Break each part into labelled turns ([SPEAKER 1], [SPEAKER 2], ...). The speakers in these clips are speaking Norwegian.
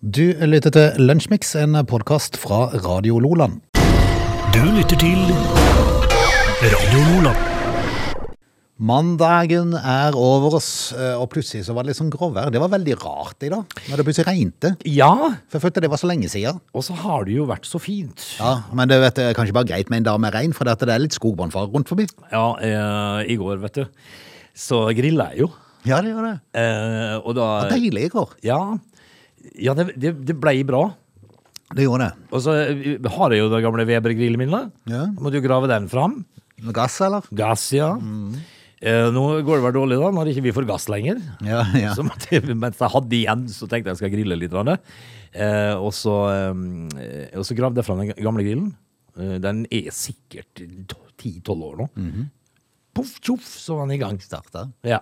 [SPEAKER 1] Du lytter til Lunsjmix, en podkast fra Radio Loland.
[SPEAKER 2] Du lytter til Radio Lola.
[SPEAKER 1] Mandagen er over oss, eh, og plutselig så var det litt sånn gråvær. Det var veldig rart i dag, når det plutselig regnte.
[SPEAKER 3] Ja,
[SPEAKER 1] For jeg følte det var så lenge siden.
[SPEAKER 3] og så har det jo vært så fint.
[SPEAKER 1] Ja, men det vet, jeg, er kanskje bare greit med en dag med regn, for det at det er litt skogbåndfare rundt forbi.
[SPEAKER 3] Ja, eh, i går, vet du, så grilla jeg jo.
[SPEAKER 1] Ja, det gjør det.
[SPEAKER 3] Eh, og da
[SPEAKER 1] Det var deilig i går.
[SPEAKER 3] Ja, ja det, det, det blei bra.
[SPEAKER 1] Det gjorde det.
[SPEAKER 3] Og så eh, har jeg jo den gamle Weber-grillen min, da.
[SPEAKER 1] Ja.
[SPEAKER 3] Måtte jo grave den fram.
[SPEAKER 1] Med gass, eller?
[SPEAKER 3] Gass, ja. Eh, nå går det vel dårlig, da, når ikke vi får gass lenger.
[SPEAKER 1] Ja, ja.
[SPEAKER 3] Så måtte jeg, mens jeg hadde igjen, så tenkte jeg jeg skal grille litt. grann, Eh, og, så, eh, og så gravde jeg fram den gamle grillen. Eh, den er sikkert to- 10-12 år nå.
[SPEAKER 1] Mhm.
[SPEAKER 3] Poff, tjoff, så var den i gang.
[SPEAKER 1] Startet.
[SPEAKER 3] Ja,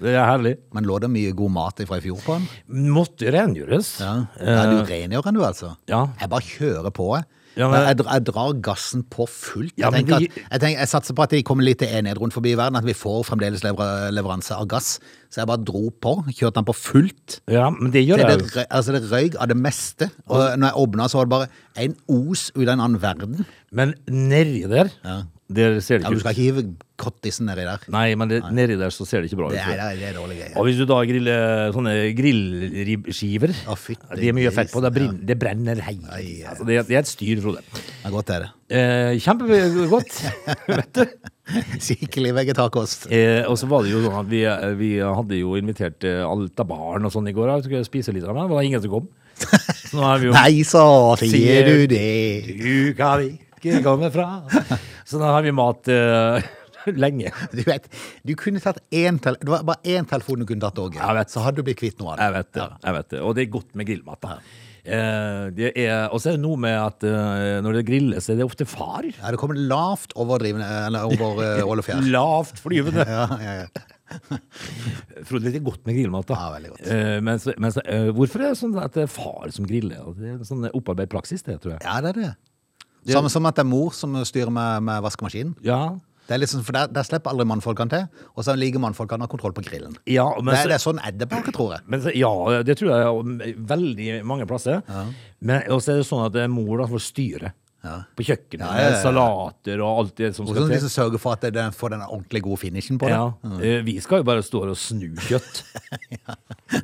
[SPEAKER 3] Det er herlig.
[SPEAKER 1] Men lå det mye god mat ifra i fjor på den?
[SPEAKER 3] Måtte rengjøres.
[SPEAKER 1] Ja, ja
[SPEAKER 3] Eh,
[SPEAKER 1] du rengjør den du, altså.
[SPEAKER 3] ja.
[SPEAKER 1] Jeg bare kjører på, jeg.
[SPEAKER 3] Ja, men-
[SPEAKER 1] jeg, dr- jeg drar gassen på fullt. Jeg,
[SPEAKER 3] Ja, men
[SPEAKER 1] tenker
[SPEAKER 3] vi-
[SPEAKER 1] at, jeg, tenker, jeg satser på at de kommer litt til enighet rundt forbi i verden, at vi får fremdeles lever leveranse av gass. Så jeg bare dro på, kjørte den på fullt.
[SPEAKER 3] ja, men det
[SPEAKER 1] Det,
[SPEAKER 3] gjør
[SPEAKER 1] det,
[SPEAKER 3] jeg jo.
[SPEAKER 1] røy- altså det røyk av det meste. Og når jeg åpna, så var det bare en os ut av en annen verden.
[SPEAKER 3] Men nedi der, der ser det
[SPEAKER 1] Ja,
[SPEAKER 3] ikke
[SPEAKER 1] Du
[SPEAKER 3] ut.
[SPEAKER 1] skal ikke hive kottisen nedi der.
[SPEAKER 3] Nei, men det, nedi der så ser det ikke bra ut.
[SPEAKER 1] Det
[SPEAKER 3] tror jeg.
[SPEAKER 1] er, det er dårlig
[SPEAKER 3] Og
[SPEAKER 1] greie.
[SPEAKER 3] hvis du da griller sånne grillribskiver
[SPEAKER 1] Å, fytti
[SPEAKER 3] Det er mye fett på, det,
[SPEAKER 1] grisen,
[SPEAKER 3] brenner, det brenner helt.
[SPEAKER 1] Ai, ai,
[SPEAKER 3] Altså, det, er- det er et styr, Frode.
[SPEAKER 1] Ja, godt er det.
[SPEAKER 3] Eh, kjempegodt, vet du.
[SPEAKER 1] Skikkelig vegetarkost.
[SPEAKER 3] Eh, og så var det jo sånn at vi, vi hadde jo invitert eh, alt av barn og sånn i går. da, Vi skulle spise litt, av det, men det var ingen som kom. Så nå er vi jo
[SPEAKER 1] Nei, så sier
[SPEAKER 3] Sier-
[SPEAKER 1] du det.
[SPEAKER 3] Du kan ikke komme fra. Så nå har vi mat eh, lenge.
[SPEAKER 1] Du vet, du kunne tatt én tel Det var bare én telefon du kunne tatt, Åge.
[SPEAKER 3] Jeg vet.
[SPEAKER 1] Så hadde du blitt kvitt noe av det.
[SPEAKER 3] Jeg vet det. jeg vet det. Og det er godt med grillmat. da. Eh, det er- Og så er det noe med at eh, når det grilles, er det ofte far.
[SPEAKER 1] Ja, det kommer lavt overdrivende Eller over eh, ål og fjær.
[SPEAKER 3] Lavt flyvende.
[SPEAKER 1] Ja, ja, ja.
[SPEAKER 3] Frode, det er godt med grillmat. da.
[SPEAKER 1] Ja, veldig godt.
[SPEAKER 3] Eh, men så- men så, eh, hvorfor er det sånn at det er far som griller? Og Det er en sånn opparbeidet praksis, det, tror jeg.
[SPEAKER 1] ja, det er det. Samme som at det er mor som styrer med, med vaskemaskinen.
[SPEAKER 3] Ja,
[SPEAKER 1] Det er liksom, for der, der slipper aldri mannfolkene til, og så liker mannfolkene å ha kontroll på grillen.
[SPEAKER 3] ja men,
[SPEAKER 1] det, er- det
[SPEAKER 3] så,
[SPEAKER 1] er sånn er det bare, tror jeg.
[SPEAKER 3] men så, ja, det tror jeg om veldig mange plasser. Men også er det sånn at det er mor da får styre
[SPEAKER 1] Ja.
[SPEAKER 3] på kjøkkenet.
[SPEAKER 1] Ja, ja, ja.
[SPEAKER 3] med Salater og alt det som
[SPEAKER 1] Og
[SPEAKER 3] skal
[SPEAKER 1] sånn
[SPEAKER 3] til.
[SPEAKER 1] liksom sørge for at det, det får den ordentlig gode finishen på det.
[SPEAKER 3] Ja, eh, Vi skal jo bare stå her og snu kjøtt.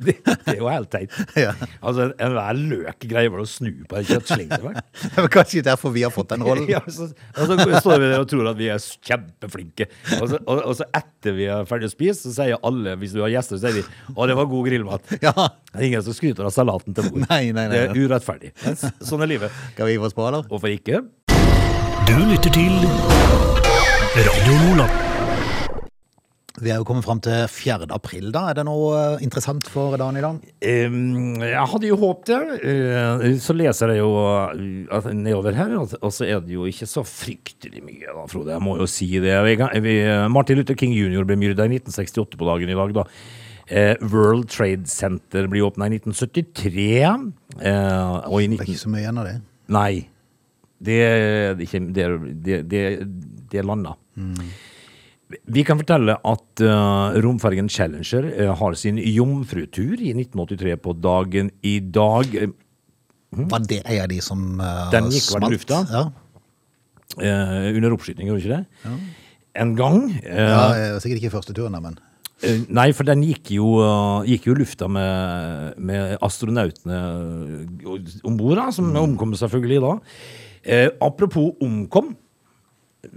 [SPEAKER 3] det, det er jo helt teit.
[SPEAKER 1] Ja.
[SPEAKER 3] Altså, en- Enhver løk greier vel å snu på en kjøttslinge. vel?
[SPEAKER 1] Det er vel kanskje derfor vi har fått den rollen.
[SPEAKER 3] Ja, så, og så står vi der og tror at vi er kjempeflinke. Og så, og, og så etter vi er ferdig å spise, så sier alle, hvis du har gjester, så sier de 'Å, det var god grillmat'.
[SPEAKER 1] Ja.
[SPEAKER 3] Det er ingen som skryter av salaten til mor.
[SPEAKER 1] Nei, nei, nei,
[SPEAKER 3] Det
[SPEAKER 1] nei.
[SPEAKER 3] er urettferdig. Men s- sånn er livet.
[SPEAKER 1] Skal vi gi oss på, eller?
[SPEAKER 3] Hvorfor ikke?
[SPEAKER 2] Du lytter til Radio Lola.
[SPEAKER 1] Vi er jo kommet fram til 4. april, da. Er det noe eh, interessant for dagen i dag?
[SPEAKER 3] Ehm, jeg hadde jo håpet det. Eh, så leser jeg jo eh, at nedover her, og og så er det jo ikke så fryktelig mye, da, Frode. Jeg må jo si det. Vi kan- vi- eh, Martin Luther King jr. ble myrda i 1968 på dagen i dag, da. Eh, World Trade Center blir åpna i 1973. Eh, og i
[SPEAKER 1] Det er
[SPEAKER 3] 19...
[SPEAKER 1] ikke så mye igjen av det.
[SPEAKER 3] Nei. Det er det ikke Det, er- det, det, det er landa. Vi kan fortelle at eh, romfergen Challenger eh, har sin jomfrutur i 1983 på dagen i dag.
[SPEAKER 1] Var det en av de som eh,
[SPEAKER 3] Mhm. Den gikk vel i
[SPEAKER 1] smalt?
[SPEAKER 3] lufta?
[SPEAKER 1] Ja.
[SPEAKER 3] eh, under oppskyting, gjorde den ikke det? En gang. eh,
[SPEAKER 1] Ja, eh, sikkert ikke første turen, da, men
[SPEAKER 3] eh, Nei, for den gikk jo, eh, gikk jo i lufta med, med astronautene om bord, da, som omkom selvfølgelig da. Eh, apropos omkom.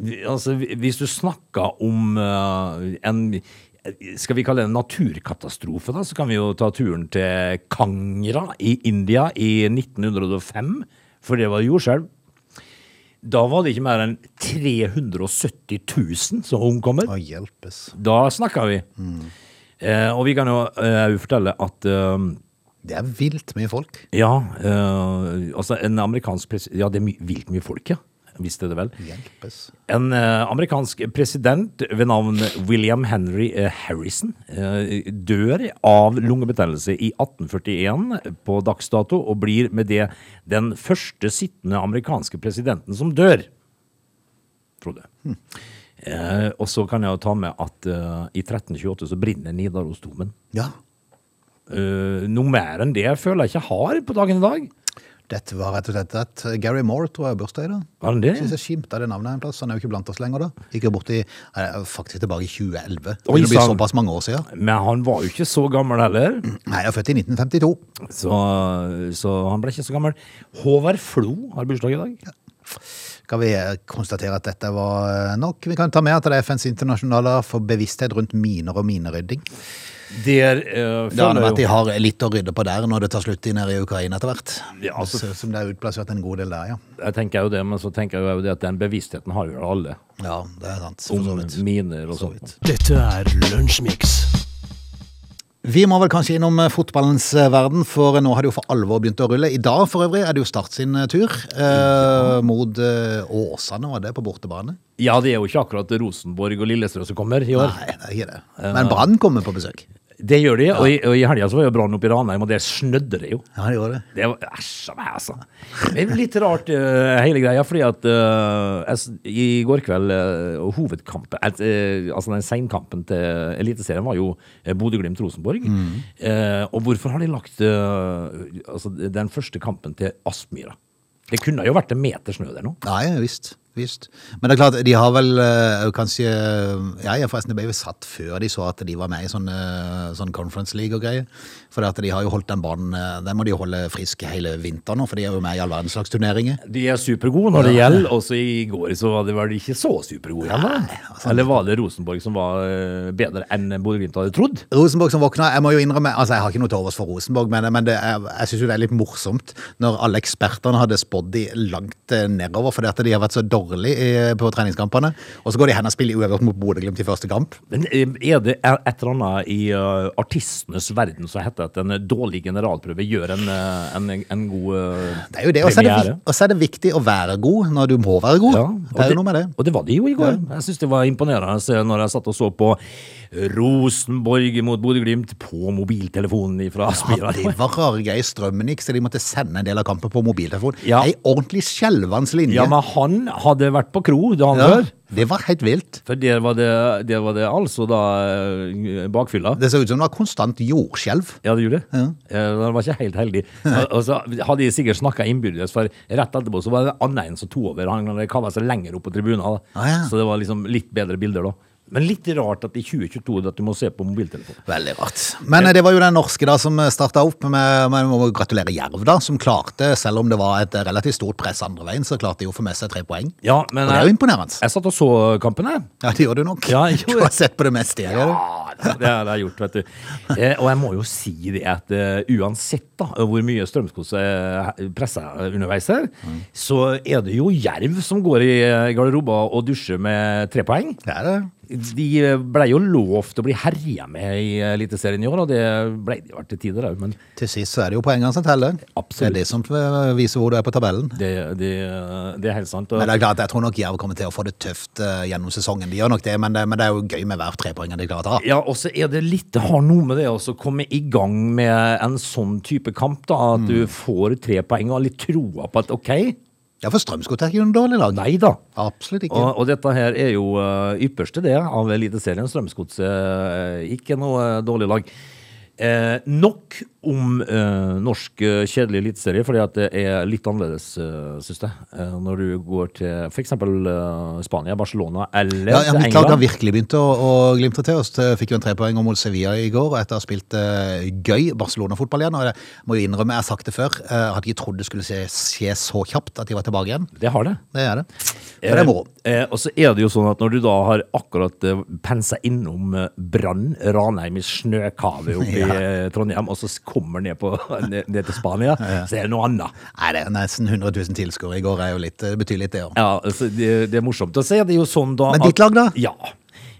[SPEAKER 3] Vi- Altså, vi- hvis du snakker om eh, en skal vi kalle det en naturkatastrofe, da, så kan vi jo ta turen til Kangra i India i 1905. For det var jordskjelv. Da var det ikke mer enn 370 000 som omkommer.
[SPEAKER 1] å hjelpes.
[SPEAKER 3] Da snakker vi. Eh, og vi kan jo eh, fortelle at eh,
[SPEAKER 1] Det er vilt mye folk.
[SPEAKER 3] Ja, eh, altså en amerikansk pres Ja, det er my vilt mye folk, ja. Visste det vel.
[SPEAKER 1] Hjelpes.
[SPEAKER 3] En eh, amerikansk president ved navn William Henry eh, Harrison eh, dør av lungebetennelse i 1841 på dags dato, og blir med det den første sittende amerikanske presidenten som dør. Frode. Eh, og så kan jeg jo ta med at eh, i 1328 så brinner Nidarosdomen.
[SPEAKER 1] Ja.
[SPEAKER 3] eh, noe mer enn det jeg føler jeg ikke har på dagen i dag.
[SPEAKER 1] Dette var rett og slett rett. Gary Moore tror jeg har bursdag i dag.
[SPEAKER 3] Var det
[SPEAKER 1] Jeg
[SPEAKER 3] det?
[SPEAKER 1] synes jeg skimta det navnet en plass. Han er jo ikke blant oss lenger, da. Gikk jo bort i nei, Faktisk tilbake i 2011. Det
[SPEAKER 3] Oi,
[SPEAKER 1] blir
[SPEAKER 3] sann.
[SPEAKER 1] såpass mange år siden.
[SPEAKER 3] Men han var jo ikke så gammel heller,
[SPEAKER 1] Nei, jeg er født i 1952.
[SPEAKER 3] så, så han ble ikke så gammel. Håvard Flo har bursdag i dag.
[SPEAKER 1] Kan vi eh, konstatere at dette var eh, nok? Vi kan ta med at det er FNs internasjonale for bevissthet rundt miner og minerydding.
[SPEAKER 3] Der eh,
[SPEAKER 1] Det aner
[SPEAKER 3] føler
[SPEAKER 1] meg at de
[SPEAKER 3] jeg jo
[SPEAKER 1] har litt å rydde på der når det tar slutt i nede i Ukraina etter hvert.
[SPEAKER 3] Ja, altså-
[SPEAKER 1] Så- Som det er utplassert en god del der, ja.
[SPEAKER 3] Jeg tenker jo det, men så tenker jeg jo det at den bevisstheten har jo alle.
[SPEAKER 1] Ja, det er sant. For
[SPEAKER 3] Om
[SPEAKER 1] så vidt.
[SPEAKER 3] miner og sånt.
[SPEAKER 2] Dette er Lunsjmix.
[SPEAKER 1] Vi må vel kanskje innom eh, fotballens eh, verden, for nå har det jo for alvor begynt å rulle. I dag for øvrig er det jo Start sin eh, tur eh, mot eh, Åsane, var det, på bortebane?
[SPEAKER 3] Ja, det er jo ikke akkurat Rosenborg og Lillestrøm som kommer i år.
[SPEAKER 1] Nei, det er ikke det. Men Brann kommer på besøk.
[SPEAKER 3] Det gjør de, og i, og i helga så var jo Brann oppe i Ranheim, og der snødde det jo.
[SPEAKER 1] Ja, det gjør det.
[SPEAKER 3] Det var Æsj a meg, altså. Det er jo litt rart, eh, hele greia, fordi at eh, jeg, s- i går kveld eh, og hovedkampen eh, eh, Altså den seinkampen til Eliteserien var jo eh, Bodø-Glimt-Rosenborg. Eh, og hvorfor har de lagt eh, altså, den første kampen til Aspmyra? Det kunne jo vært en meter snø der nå.
[SPEAKER 1] Nei, visst. visst. Men det er klart, de har vel eh, kanskje eh, Ja, ja, forresten, det ble jo satt før de så at de var med i sånn, eh, sånn Conference League og greier. For at de har jo holdt den banen eh, Den må de jo holde frisk hele vinteren nå, for de er jo med i all verdens slags turneringer.
[SPEAKER 3] De er supergode når det gjelder, og så i går så var de vel ikke så supergode igjen, da. Eller var altså, det Rosenborg som var eh, bedre enn Bodø-Glimt hadde trodd?
[SPEAKER 1] Rosenborg som våkna, jeg må jo innrømme, altså jeg har ikke noe til overs for Rosenborg, men, men det er, jeg synes jo det er litt morsomt når alle eksperterne hadde spådd de langt eh, nedover, fordi at de har vært så dårlige eh, på treningskampene, og så går de hen og spiller uavgjort mot Bodø-Glimt i første kamp.
[SPEAKER 3] Men eh, er det er et eller annet i eh, artistenes verden som heter at en eh, dårlig generalprøve gjør en, eh, en, en god eh,
[SPEAKER 1] Det er jo det, og så er det,
[SPEAKER 3] premiere?
[SPEAKER 1] vik- og så er det viktig å være god når du må være god.
[SPEAKER 3] Ja,
[SPEAKER 1] det er jo noe med det.
[SPEAKER 3] og det var de jo i går. Jeg syns det var imponerende eh, når jeg satt og så på Rosenborg mot Bodø-Glimt på mobiltelefonen fra
[SPEAKER 1] Ja,
[SPEAKER 3] Aspmyra.
[SPEAKER 1] det var rare greier. Strømmen gikk, så de måtte sende en del av kampen på mobiltelefon.
[SPEAKER 3] Ja.
[SPEAKER 1] Ei ordentlig skjelvanslinje.
[SPEAKER 3] Ja, men han hadde vært på kro da han
[SPEAKER 1] Ja,
[SPEAKER 3] før.
[SPEAKER 1] det var helt vilt.
[SPEAKER 3] For der var det, der var det altså da eh, bakfylla.
[SPEAKER 1] Det så ut som det var konstant jordskjelv.
[SPEAKER 3] Ja, det gjorde det. Eh, Den var ikke helt heldig. Og- Og så hadde de sikkert snakka innbyrdes, for rett etterpå så var det annen en som tok over. Han kava seg lenger opp på tribunen. da.
[SPEAKER 1] Ah, ja.
[SPEAKER 3] Så det var liksom litt bedre bilder da. Men litt rart at i 2022 at du må se på mobiltelefon.
[SPEAKER 1] Veldig rart. Men eh, det var jo den norske da som starta opp. Med, med, med å gratulere Jerv, da, som klarte, selv om det var et eh, relativt stort press andre veien, så klarte de å få med seg tre poeng.
[SPEAKER 3] Ja, men
[SPEAKER 1] Og det er jo
[SPEAKER 3] jeg,
[SPEAKER 1] imponerende.
[SPEAKER 3] jeg satt og så kampen, jeg.
[SPEAKER 1] Ja, det gjør du nok.
[SPEAKER 3] Ja, jeg gjorde
[SPEAKER 1] du har sett på det meste. jeg gjør det.
[SPEAKER 3] Ja, det det har jeg gjort, vet du. Eh, og jeg må jo si det at eh, uansett da, hvor mye strømskose eh, presser underveis her,
[SPEAKER 1] Mm.
[SPEAKER 3] så er det jo jerv som går i eh, garderoba og dusjer med tre poeng.
[SPEAKER 1] Det er det.
[SPEAKER 3] De ble jo lovt å bli herja med i Eliteserien i år, og det ble de jo vært til tider òg, men
[SPEAKER 1] Til sist så er det jo poengene som teller. Det
[SPEAKER 3] Absolutt.
[SPEAKER 1] er det som eh, viser hvor du er på tabellen.
[SPEAKER 3] det, det, det er helt sant. Og,
[SPEAKER 1] Men det er klart, Jeg tror nok Jerv kommer til å få det tøft eh, gjennom sesongen. De gjør nok det, men det, men det er jo gøy med hver trepoenger de klarer å ta.
[SPEAKER 3] Ja, og så er det litt Det har noe med det også, å komme i gang med en sånn type kamp, da. At du får tre poeng og har litt troa på at OK,
[SPEAKER 1] Ja, for Strømsgodt er ikke noe dårlig lag.
[SPEAKER 3] nei da.
[SPEAKER 1] Absolutt ikke.
[SPEAKER 3] Og, og dette her er jo eh, ypperste det av Eliteserien. Strømsgodset eh, ikke noe eh, dårlig lag. Eh, nok om eh, norsk eh, kjedelig eliteserie, fordi at det er litt annerledes, eh, syns jeg. Eh, når du går til f.eks. Eh, Spania, Barcelona eller
[SPEAKER 1] Ja, ja,
[SPEAKER 3] til
[SPEAKER 1] Mitt lag har
[SPEAKER 3] England.
[SPEAKER 1] virkelig begynt å, å glimte til oss. Det Fikk jo en trepoeng mot Sevilla i går og etter å ha spilt eh, gøy Barcelona-fotball igjen. Og jeg må jo innrømme, jeg har sagt det før, eh, jeg hadde ikke trodd det skulle skje, skje så kjapt at de var tilbake igjen.
[SPEAKER 3] Det har det.
[SPEAKER 1] Det er det. For det er moro.
[SPEAKER 3] Eh, eh, og så er det jo sånn at når du da har akkurat eh, pensa innom eh, Brann, Ranheim i snøkave oppe i eh, Trondheim, og så s- kommer ned, på, ned, ned til Spania, så er det noe annet.
[SPEAKER 1] Nei, det er nesten 100 000 tilskuere i går. Er jo litt, det betyr litt, det òg.
[SPEAKER 3] Ja, altså, det, det er morsomt. Og så er det jo sånn da
[SPEAKER 1] Men
[SPEAKER 3] at-
[SPEAKER 1] ditt lag da?
[SPEAKER 3] Ja.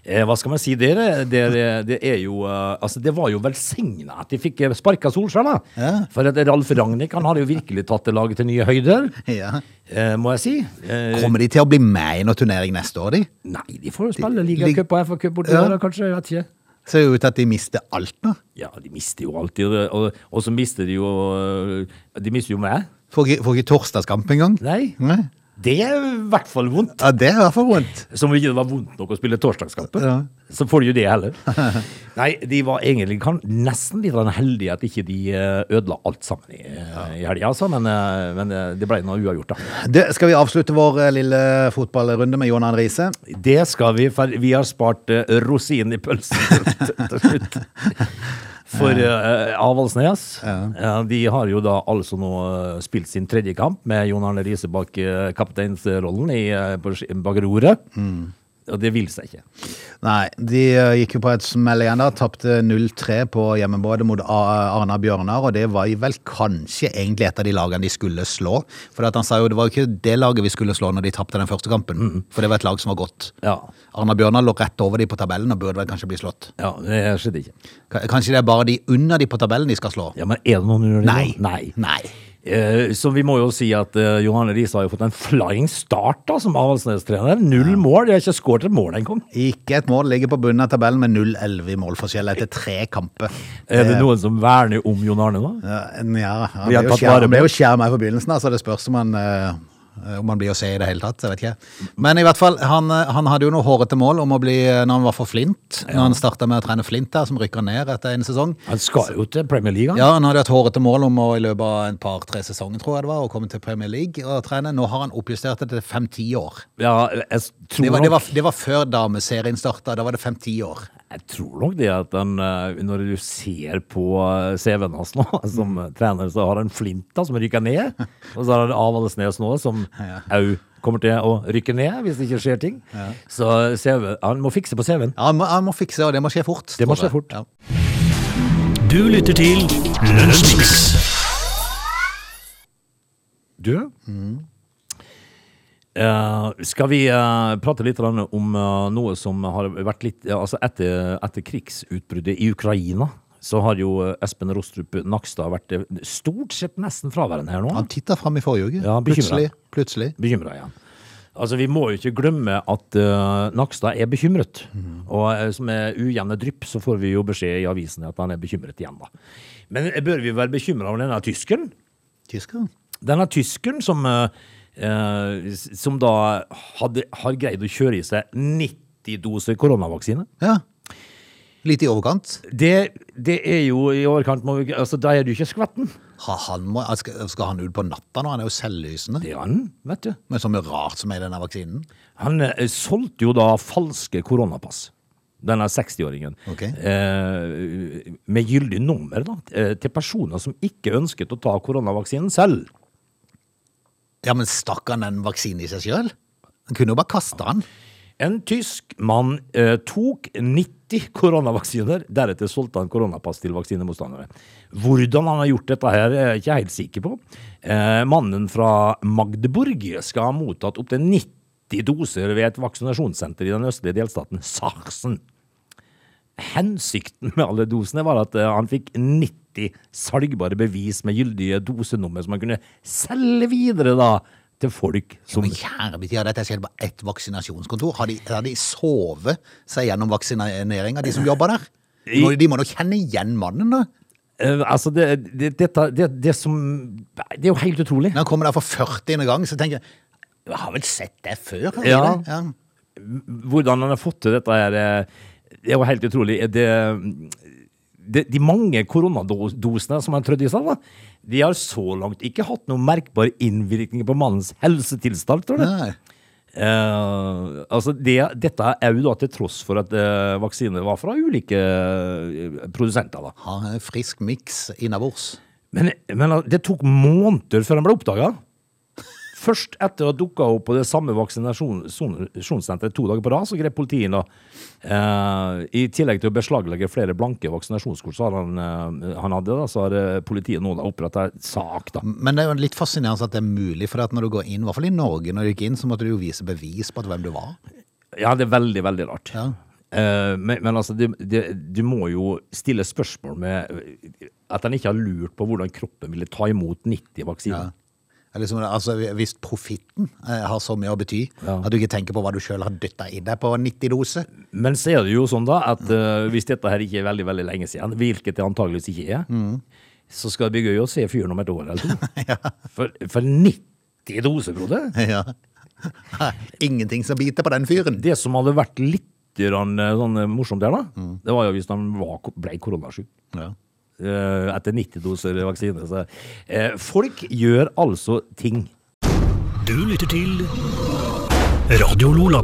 [SPEAKER 3] Eh, hva skal man si? Det, er- det, er- det er jo eh, Altså, det var jo velsigna at de fikk eh, sparka Solskjær, da.
[SPEAKER 1] Ja.
[SPEAKER 3] For at Ralf Ragnhild, han hadde jo virkelig tatt det laget til nye høyder,
[SPEAKER 1] Ja.
[SPEAKER 3] eh, må jeg si. Eh,
[SPEAKER 1] Kommer de til å bli med i noen turnering neste år, de?
[SPEAKER 3] nei, de får jo spille
[SPEAKER 1] De-
[SPEAKER 3] ligacup og FA-cup borti
[SPEAKER 1] Ja.
[SPEAKER 3] der, da, kanskje. Jeg vet ikke.
[SPEAKER 1] Ser jo ut til at de mister alt nå.
[SPEAKER 3] Ja, de mister jo alltid, og- og, og så mister de jo eh, De mister jo meg.
[SPEAKER 1] Får ikke, får ikke torsdagskamp engang.
[SPEAKER 3] Nei.
[SPEAKER 1] Nei.
[SPEAKER 3] Det er i hvert fall vondt.
[SPEAKER 1] Ja, det er i hvert fall vondt.
[SPEAKER 3] Som om ikke det var vondt nok å spille torsdagskamper.
[SPEAKER 1] Ja.
[SPEAKER 3] Så får de jo det heller. Nei, de var egentlig kan, nesten litt grann heldige at ikke de eh, ødela alt sammen i, i helga, altså. Men, eh, men eh, det ble noe uavgjort, da.
[SPEAKER 1] Det, skal vi avslutte vår eh, lille fotballrunde med Jonan Riise?
[SPEAKER 3] Det skal vi, for vi har spart eh, rosinen i pølsen til, til slutt. For eh, Avaldsnes eh, De har jo da altså nå eh, spilt sin tredje kamp med Jon Arne Riise bak eh, kapteinsrollen i, eh, på sk- bak roret. Og det vil seg ikke.
[SPEAKER 1] Nei, de eh, gikk jo på et smell igjen da. Tapte 0-3 på hjemmebadet mot A- Arna Bjørnar, og det var jo vel kanskje egentlig et av de lagene de skulle slå. For at han sa jo det var jo ikke det laget vi skulle slå når de tapte den første kampen, for det var et lag som var godt.
[SPEAKER 3] Ja.
[SPEAKER 1] Arna Bjørnar lå rett over de på tabellen og burde vel kanskje bli slått.
[SPEAKER 3] Ja, det skjedde ikke.
[SPEAKER 1] K- Kanskje det er bare de under de på tabellen de skal slå?
[SPEAKER 3] Ja, men er det noen under det?
[SPEAKER 1] Nei.
[SPEAKER 3] da? Nei. Eh, så vi må jo si at eh, Johanne Riise har jo fått en flying start da, som Avaldsnes-trener. Null mål. De har ikke skåret et mål engang.
[SPEAKER 1] Ikke et mål. Ligger på bunnen av tabellen med 0-11 i målforskjell etter tre kamper.
[SPEAKER 3] Er det noen som verner om Jon Arne nå?
[SPEAKER 1] Ja, han
[SPEAKER 3] Vi
[SPEAKER 1] ble
[SPEAKER 3] har
[SPEAKER 1] jo
[SPEAKER 3] tatt
[SPEAKER 1] skjerm-
[SPEAKER 3] vare
[SPEAKER 1] han
[SPEAKER 3] på-
[SPEAKER 1] ble jo skjerma i forbindelsen, altså det spørs om han, eh, om han blir å se i det hele tatt. Jeg vet ikke. Men i hvert fall, han, eh, han hadde jo noe hårete mål om å bli eh, når han var for Flint. Når han starta med å trene Flint der, som rykker ned etter en sesong.
[SPEAKER 3] Han skal jo til Premier League. han.
[SPEAKER 1] Ja, han hadde et hårete mål om å i løpet av en par-tre sesonger tror jeg det var, å komme til Premier League og trene. Nå har han oppjustert det til fem-ti år.
[SPEAKER 3] Ja, jeg, s- tror
[SPEAKER 1] Det var, det
[SPEAKER 3] nok,
[SPEAKER 1] var, det var før dameserien starta. Da var det fem-ti år.
[SPEAKER 3] jeg tror nok det at han, eh, når du ser på eh, CV-en hans nå, som eh, trener, så har han Flinta som rykker ned. Og så har han Avaldsnes nå, som au kommer til å rykke ned hvis det ikke skjer ting. Så CV, han må fikse på CV-en.
[SPEAKER 1] Ja, han, må, han må fikse, og det må skje fort.
[SPEAKER 3] Det må
[SPEAKER 1] tror jeg.
[SPEAKER 3] skje fort.
[SPEAKER 1] Ja.
[SPEAKER 2] Du lytter til Lunsjmix.
[SPEAKER 3] Du? Eh, skal vi eh, prate litt grann om eh, noe som har vært litt ja, Altså etter, etter krigsutbruddet i Ukraina, så har jo eh, Espen Rostrup Nakstad vært eh, stort sett nesten fraværende her nå.
[SPEAKER 1] Han titta fram i forrige uke.
[SPEAKER 3] Ja, han bekymret.
[SPEAKER 1] plutselig. plutselig.
[SPEAKER 3] Bekymra igjen. Altså, Vi må jo ikke glemme at eh, Nakstad er bekymret. Og eh, som er ujevne drypp, så får vi jo beskjed i avisene at han er bekymret igjen, da. Men eh, bør vi være bekymra over denne tyskeren?
[SPEAKER 1] Tyskeren.
[SPEAKER 3] Denne tyskeren som, eh, eh, s- som da hadde, har greid å kjøre i seg 90 doser koronavaksine.
[SPEAKER 1] Ja. Litt i overkant.
[SPEAKER 3] Det, det er jo i overkant må vi, altså, Da er du ikke skvetten.
[SPEAKER 1] Ha, han må, skal, skal han ut på natta nå? Han er jo selvlysende.
[SPEAKER 3] Det er han, vet du.
[SPEAKER 1] Men som er rart som er i denne vaksinen.
[SPEAKER 3] Han eh, solgte jo da falske koronapass. Denne 60-åringen.
[SPEAKER 1] Ok.
[SPEAKER 3] Eh, med gyldig nummer da, eh, til personer som ikke ønsket å ta koronavaksinen selv.
[SPEAKER 1] Ja, men stakk han den vaksinen i seg sjøl? Han kunne jo bare kaste den.
[SPEAKER 3] En tysk mann eh, tok 90 koronavaksiner, deretter solgte han koronapass til vaksinemotstandere. Hvordan han har gjort dette her, er jeg ikke helt sikker på. Eh, mannen fra Magdeburg skal ha mottatt opptil 90 doser ved et vaksinasjonssenter i den østlige delstaten Sachsen. Hensikten med alle dosene var at eh, han fikk 90 salgbare bevis med gyldige dosenummer som han kunne selge videre da, til folk som
[SPEAKER 1] Men kjære min tid, har dette skjedd på ett vaksinasjonskontor? Har de, har de sovet seg gjennom vaksineringa, de som jobber der? De må, de må nå kjenne igjen mannen, da.
[SPEAKER 3] Eh, altså, det, det, dette, det, det som Nei, Det er jo helt utrolig.
[SPEAKER 1] Når han kommer der for 40. gang, så tenker jeg Jeg har vel sett det før? har jeg
[SPEAKER 3] Ja.
[SPEAKER 1] det?» ja.
[SPEAKER 3] Hvordan han har fått til dette her, eh, det er jo helt utrolig. Det, det, de mange koronadosene som han trødde i seg, da, de har så langt ikke hatt noen merkbar innvirkning på mannens helsetilstand, tror jeg.
[SPEAKER 1] Nei.
[SPEAKER 3] Eh, altså det, dette er jo da til tross for at eh, vaksiner var fra ulike eh, produsenter. da.
[SPEAKER 1] Ha en frisk miks innabords.
[SPEAKER 3] Men, men al- det tok måneder før han ble oppdaga. Først etter å ha dukka opp på det samme vaksinasjonssenteret to dager på rad, så grep politiet inn. og, eh, I tillegg til å beslaglegge flere blanke vaksinasjonskort så har han, eh, han hadde, da, så har eh, politiet nå oppretta sak. da.
[SPEAKER 1] Men det er jo litt fascinerende at det er mulig, for at når du går inn, i hvert fall i Norge, når du gikk inn, så måtte du jo vise bevis på at hvem du var.
[SPEAKER 3] Ja, det er veldig, veldig rart.
[SPEAKER 1] Ja.
[SPEAKER 3] Eh, men, men altså, det, det, du må jo stille spørsmål med at han ikke har lurt på hvordan kroppen ville ta imot 90 vaksiner.
[SPEAKER 1] Det er Liksom, altså, hvis profitten eh, har så mye å bety,
[SPEAKER 3] Ja.
[SPEAKER 1] at du ikke tenker på hva du sjøl har dytta i deg på 90 doser
[SPEAKER 3] Men så er det jo sånn da at eh, hvis dette her ikke er veldig veldig lenge siden, hvilket det antageligvis ikke er, så skal det bli gøy å se fyren om et år eller to. For, for 90 vanvittige doser, Frode.
[SPEAKER 1] Ja. Nei, Ingenting som biter på den fyren.
[SPEAKER 3] Det som hadde vært litt grann, eh, sånn eh, morsomt der, da, det var jo hvis han var, ble koronasjuk.
[SPEAKER 1] Ja.
[SPEAKER 3] eh, etter 90 doser vaksine. Så, eh, folk gjør altså ting.
[SPEAKER 2] Du lytter til Radio Lola.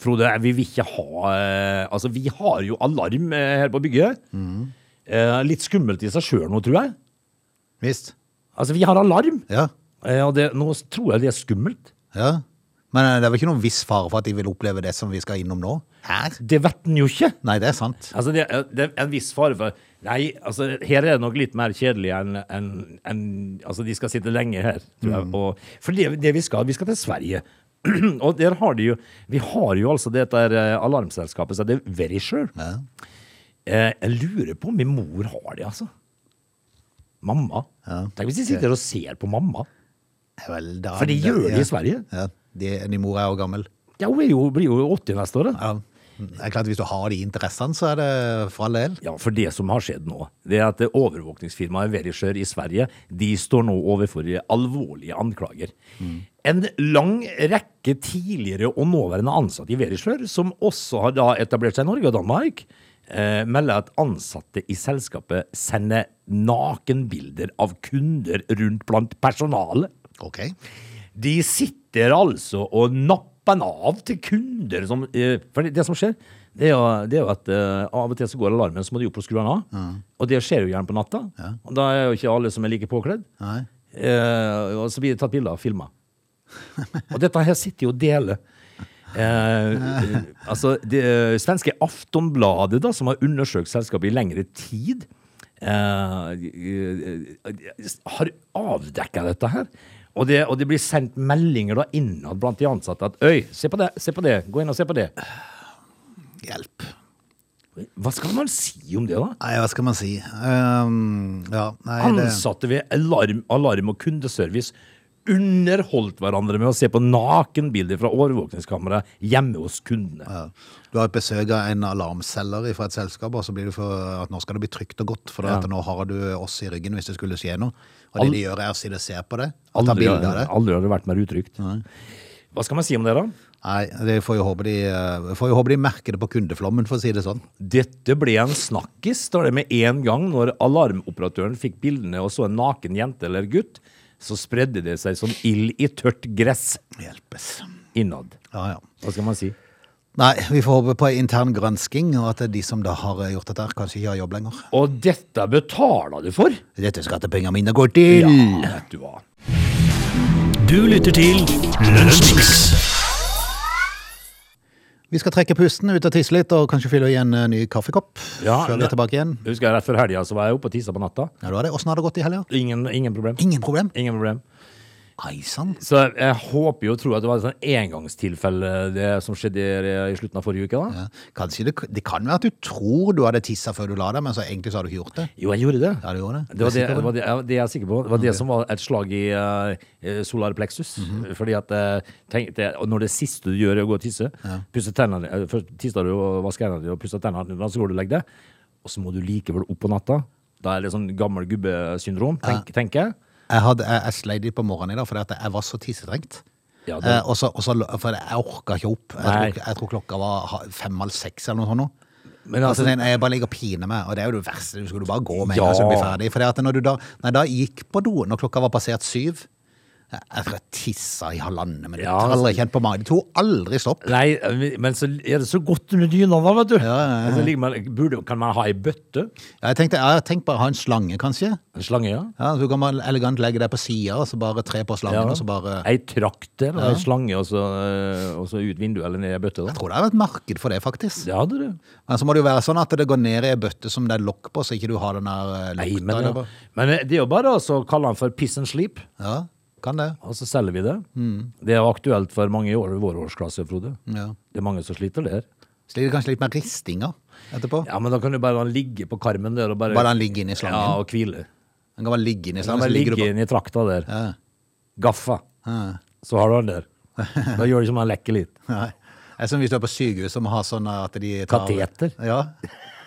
[SPEAKER 3] Frode, eh, vi vil ikke ha eh, Altså, vi har jo alarm eh, her på bygget. Eh, litt skummelt i seg sjøl nå, tror jeg.
[SPEAKER 1] Visst.
[SPEAKER 3] Altså, vi har alarm,
[SPEAKER 1] Ja.
[SPEAKER 3] eh, og det, nå tror jeg det er skummelt.
[SPEAKER 1] ja. Men eh, det er vel ikke noen viss fare for at de vil oppleve det som vi skal innom nå? Her?
[SPEAKER 3] Det vet en jo ikke.
[SPEAKER 1] Nei, det er sant.
[SPEAKER 3] Altså, det, er- det er en viss fare for Nei, altså, her er det nok litt mer kjedelig enn enn- enn- Altså, de skal sitte lenge her, tror jeg. Og, for det, det vi skal, vi skal til Sverige. og der har de jo Vi har jo altså dette her, eh, alarmselskapet, så det er Verisure.
[SPEAKER 1] Ja.
[SPEAKER 3] Eh, jeg lurer på om min mor har det, altså. Mamma.
[SPEAKER 1] Ja.
[SPEAKER 3] Tenk hvis de sitter og ser på mamma.
[SPEAKER 1] Vel, da,
[SPEAKER 3] For det gjør de
[SPEAKER 1] ja.
[SPEAKER 3] i Sverige.
[SPEAKER 1] Ja. De, de mor er jo gammel.
[SPEAKER 3] Ja, hun er jo, blir jo 80 neste år. da.
[SPEAKER 1] Ja. Det er klart, Hvis du har de interessene, så er det for all del.
[SPEAKER 3] Ja, for det som har skjedd nå, det er at det overvåkningsfirmaet Verisure i Sverige, de står nå overfor alvorlige anklager. En lang rekke tidligere og nåværende ansatte i Verisure, som også har da etablert seg i Norge og Danmark, eh, melder at ansatte i selskapet sender nakenbilder av kunder rundt blant personalet.
[SPEAKER 1] Ok.
[SPEAKER 3] De sitter altså og napper den av til kunder som eh, For det, det som skjer, det er jo, det er jo at eh, av og til så går alarmen, så må du opp og skru den av. Og det skjer jo gjerne på natta. Og da er jo ikke alle som er like påkledd.
[SPEAKER 1] Nei.
[SPEAKER 3] Eh, og så blir det tatt bilder og filma. Og dette her sitter jo og deler. Eh, altså, det eh, svenske Aftonbladet, da, som har undersøkt selskapet i lengre tid, eh, eh, har avdekka dette her. Og det, og det blir sendt meldinger da innad blant de ansatte at Øy, se på det, se på det, gå inn og se på det.
[SPEAKER 1] Hjelp.
[SPEAKER 3] Hva skal man si om det, da?
[SPEAKER 1] Nei, hva skal man si? Ehm, ja, nei, det,
[SPEAKER 3] Ansatte ved alarm, alarm og kundeservice underholdt hverandre med å se på nakenbilder fra overvåkningskamera hjemme hos kundene.
[SPEAKER 1] ja. Du har besøk av en alarmselger fra et selskap, og så blir det for at nå skal det bli trygt og godt, for
[SPEAKER 3] Ja.
[SPEAKER 1] at nå har du oss i ryggen hvis det skulle skje noe. Og det
[SPEAKER 3] Al-
[SPEAKER 1] de gjør er å si det, se på det, og ta
[SPEAKER 3] Aldri,
[SPEAKER 1] bilder av det.
[SPEAKER 3] aldri har det vært mer utrygt. Hva skal man si om det, da?
[SPEAKER 1] Nei, det får jo håpe de, eh, får jo håpe de merker det på kundeflommen, for å si det sånn.
[SPEAKER 3] Dette ble en snakkis, står det med en gang. Når alarmoperatøren fikk bildene og så en naken jente eller gutt, så spredde det seg som ild i tørt gress
[SPEAKER 1] Hjelpes.
[SPEAKER 3] innad.
[SPEAKER 1] Ja, ja.
[SPEAKER 3] Hva skal man si?
[SPEAKER 1] Nei, vi får håpe på en intern gransking, og at de som da har gjort dette her, kanskje ikke har jobb lenger.
[SPEAKER 3] Og dette betaler du for!
[SPEAKER 1] Dette skattepengene mine går til!
[SPEAKER 3] vet du hva.
[SPEAKER 2] Du lytter til Lunsjmix.
[SPEAKER 1] Vi skal trekke pusten ut og tisse litt, og kanskje fylle i en eh, ny kaffekopp
[SPEAKER 3] Ja,
[SPEAKER 1] før vi
[SPEAKER 3] ne-
[SPEAKER 1] er tilbake igjen.
[SPEAKER 3] Husker jeg rett før helga så var jeg oppe og tissa på natta.
[SPEAKER 1] Ja, du har det. Åssen har det gått i helga?
[SPEAKER 3] Ingen, ingen problem.
[SPEAKER 1] Ingen problem.
[SPEAKER 3] Ingen problem.
[SPEAKER 1] Nei sann.
[SPEAKER 3] Så jeg, jeg håper jo og tror at det var et sånn engangstilfelle, det som skjedde i- i slutten av forrige uke. da.
[SPEAKER 1] Ja. Kanskje det, det kan være at du tror du hadde tissa før du la deg, men så egentlig så har du ikke gjort det.
[SPEAKER 3] Jo, jeg gjorde det.
[SPEAKER 1] Ja, du gjorde det. Er du
[SPEAKER 3] Det var det,
[SPEAKER 1] sikker på
[SPEAKER 3] det, var det, ja, det jeg er sikker på. Det var det som var et slag i eh, solar plexus.
[SPEAKER 1] Mhm.
[SPEAKER 3] Fordi at eh, tenk, det, og Når det siste du gjør, er å gå og tisse pusse tennene, eh, Først tisser du og vasker hendene dine og pusser tennene, da så går du og legger deg. Og så må du likevel opp på natta. Da er det sånn gammel gubbesyndrom, tenk, tenker jeg.
[SPEAKER 1] Jeg, hadde, jeg, jeg sleit litt på morgenen i dag fordi at jeg var så tissetrengt.
[SPEAKER 3] Ja, det-
[SPEAKER 1] Eh, og så, og så, for jeg orka ikke opp. Jeg
[SPEAKER 3] Nei.
[SPEAKER 1] tror, jeg tror klokka var ha- fem-halv seks eller noe sånt. nå.
[SPEAKER 3] Men
[SPEAKER 1] Altså,
[SPEAKER 3] altså,
[SPEAKER 1] sånn, jeg bare ligger og piner meg, og det er jo det verste. Du skulle bare gå med en
[SPEAKER 3] Ja.
[SPEAKER 1] gang så du blir ferdig. For det at når du da, nei, da gikk på do når klokka var passert syv Jeg, jeg tror jeg tissa i halvannet minutt.
[SPEAKER 3] Ja, altså.
[SPEAKER 1] Aldri kjent på magen. Det tok aldri stopp.
[SPEAKER 3] Nei, men så er det så godt under dyna, da, vet du.
[SPEAKER 1] ja, ja.
[SPEAKER 3] Altså, ligger man, burde, kan man ha ei bøtte?
[SPEAKER 1] Jeg tenkte, jeg tenkte bare ha en slange, kanskje.
[SPEAKER 3] En slange, ja.
[SPEAKER 1] Ja, så Du kan man elegant legge deg på sida og så bare tre på slangen.
[SPEAKER 3] ja.
[SPEAKER 1] og så altså bare...
[SPEAKER 3] Ei trakter, ei slange, og så, eh, og så ut vinduet eller ned i ei bøtte.
[SPEAKER 1] Jeg
[SPEAKER 3] da.
[SPEAKER 1] tror det er et marked for det, faktisk.
[SPEAKER 3] Det hadde du.
[SPEAKER 1] Men så må det jo være sånn at det går ned i ei bøtte som det er lokk på, så ikke du har den der eh,
[SPEAKER 3] Nei,
[SPEAKER 1] lukta.
[SPEAKER 3] men,
[SPEAKER 1] eller
[SPEAKER 3] ja.
[SPEAKER 1] hva.
[SPEAKER 3] men eh, det er jo bare å så kalle den for piss and sleep,
[SPEAKER 1] ja, kan det.
[SPEAKER 3] og så selger vi det. Det er jo aktuelt for mange i år, vår årsklasse, Frode.
[SPEAKER 1] Ja.
[SPEAKER 3] Det er mange som sliter der.
[SPEAKER 1] Sliter kanskje litt med ristinger etterpå.
[SPEAKER 3] Ja, men da kan du bare ligge på karmen der og bare,
[SPEAKER 1] Bare den ligger inni slangen.
[SPEAKER 3] ja, og hvile.
[SPEAKER 1] Den kan bare ligge inni
[SPEAKER 3] Da
[SPEAKER 1] slangen,
[SPEAKER 3] bare
[SPEAKER 1] så ligger
[SPEAKER 3] ligge
[SPEAKER 1] du på.
[SPEAKER 3] inn i trakta der.
[SPEAKER 1] Ja.
[SPEAKER 3] Gaffa.
[SPEAKER 1] Ja.
[SPEAKER 3] Så har du den der. Da gjør det ikke om han lekker litt.
[SPEAKER 1] Nei. Det er som hvis du er på sykehus som har sånn at de tar
[SPEAKER 3] Kateter.
[SPEAKER 1] Ja.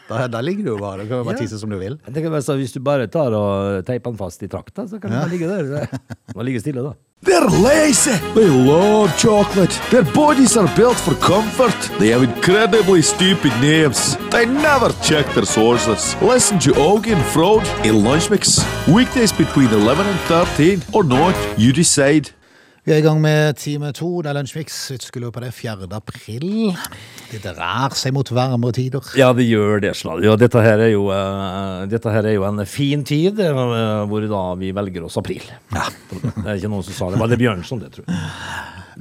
[SPEAKER 1] Da, da ligger du jo bare. Du kan jo bare
[SPEAKER 3] Ja.
[SPEAKER 1] tisse som du vil.
[SPEAKER 3] Jeg tenker bare så Hvis du bare tar og teiper den fast i trakta, så kan den bare ligge der. Den må ligge stille, da.
[SPEAKER 4] They're lazy. They love chocolate. Their bodies are built for comfort. They have incredibly stupid names. They never check their sources. Listen to Augie and Frode in Lunch Mix. Weekdays between 11 and 13 or not, you decide.
[SPEAKER 1] Vi er i gang med time to. Det er Lunsjmix. Vi skulle jo på det 4. april. Det drar seg mot varmere tider.
[SPEAKER 3] Ja, det gjør det. Sladd. Ja, dette, her er jo, eh, dette her er jo en fin tid, eh, hvor da vi velger oss april. Det er ikke noen som sa det. Var det Bjørnson, det, tror jeg.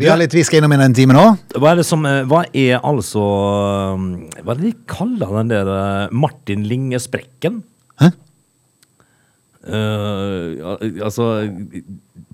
[SPEAKER 1] Vi, har litt, vi skal innom i den timen òg.
[SPEAKER 3] Hva er det som eh, Hva er altså eh, Hva er det de kaller den der eh, Martin Linge-sprekken?
[SPEAKER 1] Hæ?
[SPEAKER 3] Eh, ja, altså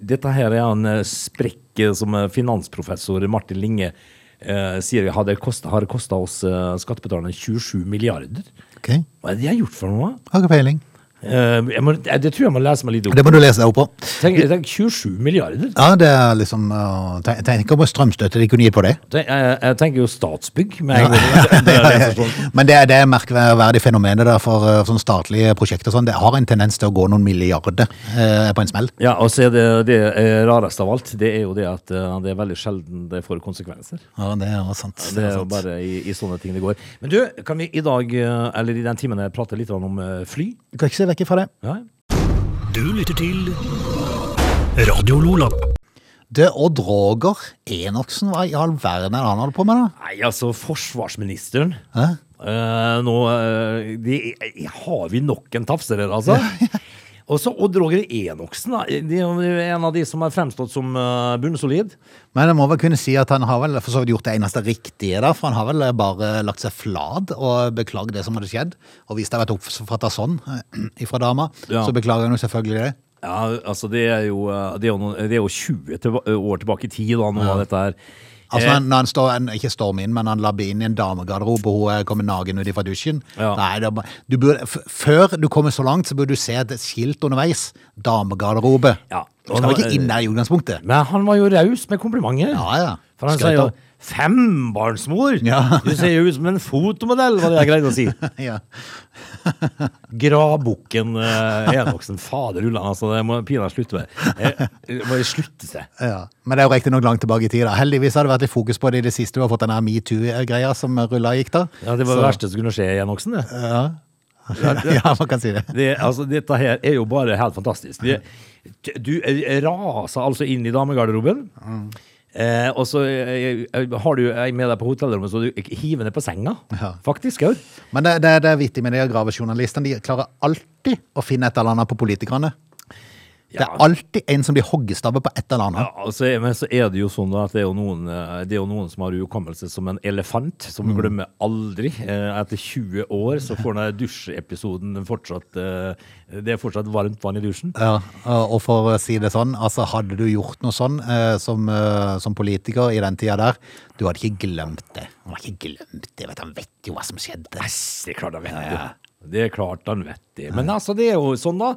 [SPEAKER 3] Dette her er en eh, sprekk eh, som eh, finansprofessor Martin Linge eh, sier hadde kosta, har kosta oss eh, skattebetalerne 27 milliarder.
[SPEAKER 1] Ok, Har
[SPEAKER 3] Hva er det de har gjort for noe?
[SPEAKER 1] ikke peiling.
[SPEAKER 3] Eh, jeg må, jeg, det tror jeg må lese meg litt opp.
[SPEAKER 1] Det må du lese deg opp på.
[SPEAKER 3] Tenk, tenk 27 milliarder.
[SPEAKER 1] Ja, det er liksom øh, Tenk tenk om strømstøtte de kunne gi på det.
[SPEAKER 3] Tenk, eh, jeg, jeg tenker jo Statsbygg. Med en gang. Det er det jeg forstår.
[SPEAKER 1] Men det, er- det er merkverdig fenomenet der for øh, sånne statlige prosjekter. og Sånn. Det har en tendens til å gå noen milliarder eh, på en smell.
[SPEAKER 3] ja, og så er det det eh, rareste av alt, det er jo det at eh, det er veldig sjelden det får konsekvenser.
[SPEAKER 1] Ja, det er sant.
[SPEAKER 3] Det
[SPEAKER 1] er
[SPEAKER 3] er jo
[SPEAKER 1] sant.
[SPEAKER 3] bare i, i sånne ting det går. Men du, kan vi i dag, eh, eller i den timen her, prate litt om eh, fly?
[SPEAKER 1] Du kan ikke se vekk fra det.
[SPEAKER 3] Ja.
[SPEAKER 2] Du lytter til Radio Lola.
[SPEAKER 1] Det Odd Roger Enoksen, hva i all verden er det han holder på med, da?
[SPEAKER 3] Nei, altså, forsvarsministeren.
[SPEAKER 1] Hæ?
[SPEAKER 3] Eh, nå eh, de, eh, Har vi nok en tafser her, altså? Og så Odd Roger Enoksen. da. De er jo en av de som er fremstått som eh, bunnsolid.
[SPEAKER 1] Men jeg må vel kunne si at han har vel for så vidt gjort det eneste riktige der, for han har vel bare lagt seg flad og beklaget det som hadde skjedd. Og hvis det har vært oppfattet sånn ifra dama,
[SPEAKER 3] Ja.
[SPEAKER 1] så beklager han jo selvfølgelig det.
[SPEAKER 3] Ja, altså Det er jo, eh, det er jo, noen, det er jo 20 tilba år tilbake i tid, da, noe av dette her.
[SPEAKER 1] Altså
[SPEAKER 3] Eh,
[SPEAKER 1] han, Når han står, han, ikke stormer inn, men han labber inn i en damegarderobe, og hun eh, kommer nagen ut fra dusjen
[SPEAKER 3] Ja.
[SPEAKER 1] Nei, det er bare, du burde, f Før du kommer så langt, så burde du se et skilt underveis. Damegarderobe.
[SPEAKER 3] Ja.
[SPEAKER 1] Du skal jo ikke inn der i utgangspunktet.
[SPEAKER 3] Men han var jo raus med komplimenter.
[SPEAKER 1] Ja, ja.
[SPEAKER 3] For han
[SPEAKER 1] Skrøt
[SPEAKER 3] sier jo
[SPEAKER 1] av.
[SPEAKER 3] 'fembarnsmor'!
[SPEAKER 1] Ja.
[SPEAKER 3] Du ser jo ut som en fotomodell, var det jeg greide å si.
[SPEAKER 1] ja.
[SPEAKER 3] Gradbukken eh, Enoksen. Fader ullan, altså. Det må pinadø slutte med. Eh, Det må slutte seg.
[SPEAKER 1] Ja, Men det er jo riktignok langt tilbake i tid. da. Heldigvis har det vært litt fokus på det i det siste. Du har fått den her metoo-greia som rulla gikk da.
[SPEAKER 3] Ja, det var det verste som kunne skje Enoksen, det.
[SPEAKER 1] ja, man kan si det.
[SPEAKER 3] Det, altså, dette her er jo bare helt fantastisk. Det, du eh, raser altså inn i damegarderoben, eh, og så eh, eh, har du ei med deg på hotellrommet, så du hiver ned på senga.
[SPEAKER 1] Ja.
[SPEAKER 3] Faktisk òg.
[SPEAKER 1] Men det, det, det er vittig med de gravejournalistene. De klarer alltid å finne et eller annet på politikerne. Det er alltid en som blir hoggestabbe på et eller annet.
[SPEAKER 3] Ja, altså, men så er det jo sånn da at det er jo noen, eh, det er jo noen som har hukommelse som en elefant, som glemmer aldri. Eh, Etter 20 år så får den dusjeepisoden fortsatt eh, Det er fortsatt varmt vann i dusjen.
[SPEAKER 1] Ja, og og for å si det sånn, altså hadde du gjort noe sånn eh, som, eh, som politiker i den tida der, du hadde ikke glemt det. Han har ikke glemt det, vet du. han vet jo hva som skjedde.
[SPEAKER 3] Det er klart han vet det. Det er klart han vet det. Men altså, det er jo sånn, da.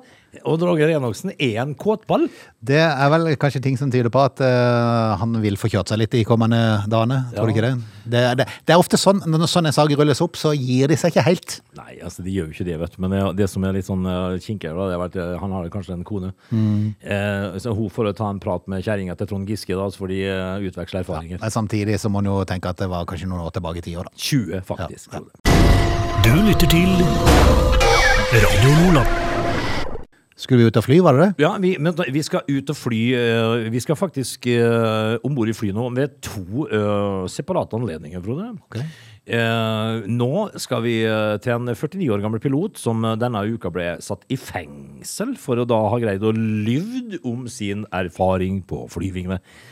[SPEAKER 3] Odd Roger Enoksen er en kåtball.
[SPEAKER 1] Det er vel kanskje ting som tyder på at eh, han vil få kjørt seg litt de kommende dagene. Tror du
[SPEAKER 3] Ja.
[SPEAKER 1] ikke det? Det, er- det? det er ofte sånn når sånne saker rulles opp, så gir de seg ikke helt.
[SPEAKER 3] Nei, altså de gjør jo ikke det, vet du. Men det, det som er litt sånn eh, kinkigere, da, det er vel at eh, han har kanskje en kone. Eh, så hun får jo ta en prat med kjerringa til Trond Giske, da, så får de eh, utveksle erfaringer.
[SPEAKER 1] Men samtidig så må en jo tenke at det var kanskje noen år tilbake i tida, da.
[SPEAKER 3] 20, faktisk. tror jeg.
[SPEAKER 2] Du lytter til Radio Lola.
[SPEAKER 1] Skulle vi ut og fly, var det det?
[SPEAKER 3] Ja, vi, men da- vi skal ut og fly. eh, Vi skal faktisk uh, om bord i fly nå ved to eh, separate anledninger, Frode.
[SPEAKER 1] Ok.
[SPEAKER 3] Eh, nå skal vi eh, til en 49 år gammel pilot som eh, denne uka ble satt i fengsel for å da ha greid å lyvd om sin erfaring på flyvingene. Og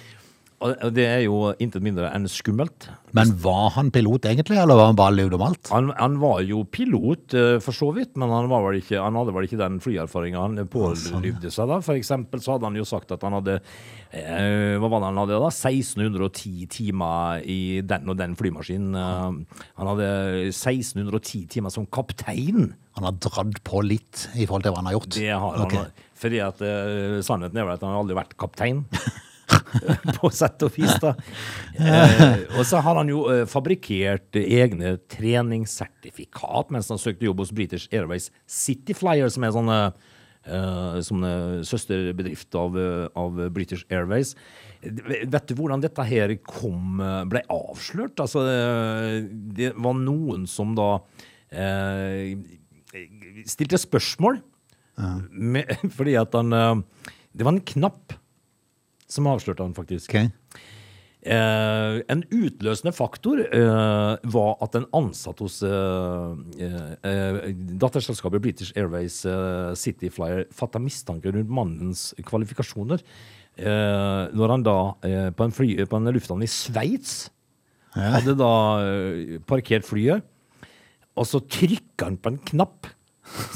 [SPEAKER 3] og det er jo intet mindre enn skummelt.
[SPEAKER 1] Men var han pilot egentlig, eller var han bare lugd om alt?
[SPEAKER 3] Han, han var jo pilot, eh, for så vidt, men han, var vel ikke, han hadde vel ikke den flyerfaringa han pålyvde seg da. For eksempel så hadde han jo sagt at han hadde eh, Hva var det han hadde da? 1610 timer i den og den flymaskinen. Eh, han hadde 1610 timer som kaptein.
[SPEAKER 1] Han har dratt på litt i forhold til hva han har gjort.
[SPEAKER 3] Det har han.
[SPEAKER 1] Ok.
[SPEAKER 3] Fordi at eh, sannheten er vel at han har aldri vært kaptein. på sett og vis, da. Eh, og så har han jo eh, fabrikkert egne treningssertifikat mens han søkte jobb hos British Airways City Flyer, som er sånn eh, eh, som eh, søsterbedrift av, eh, av British Airways. Vet du hvordan dette her kom, eh, ble avslørt? Altså, eh, det var noen som da eh, stilte spørsmål. Med, fordi at han eh, Det var en knapp som avslørte han, faktisk.
[SPEAKER 1] Ok.
[SPEAKER 3] Eh, en utløsende faktor eh, var at en ansatt hos eh, eh, eh, datterselskapet British Airways eh, City Flyer fatta mistanke rundt mannens kvalifikasjoner eh, når han da eh, på, en fly, på en lufthavn i Sveits hadde da eh, parkert flyet, og så trykker han på en knapp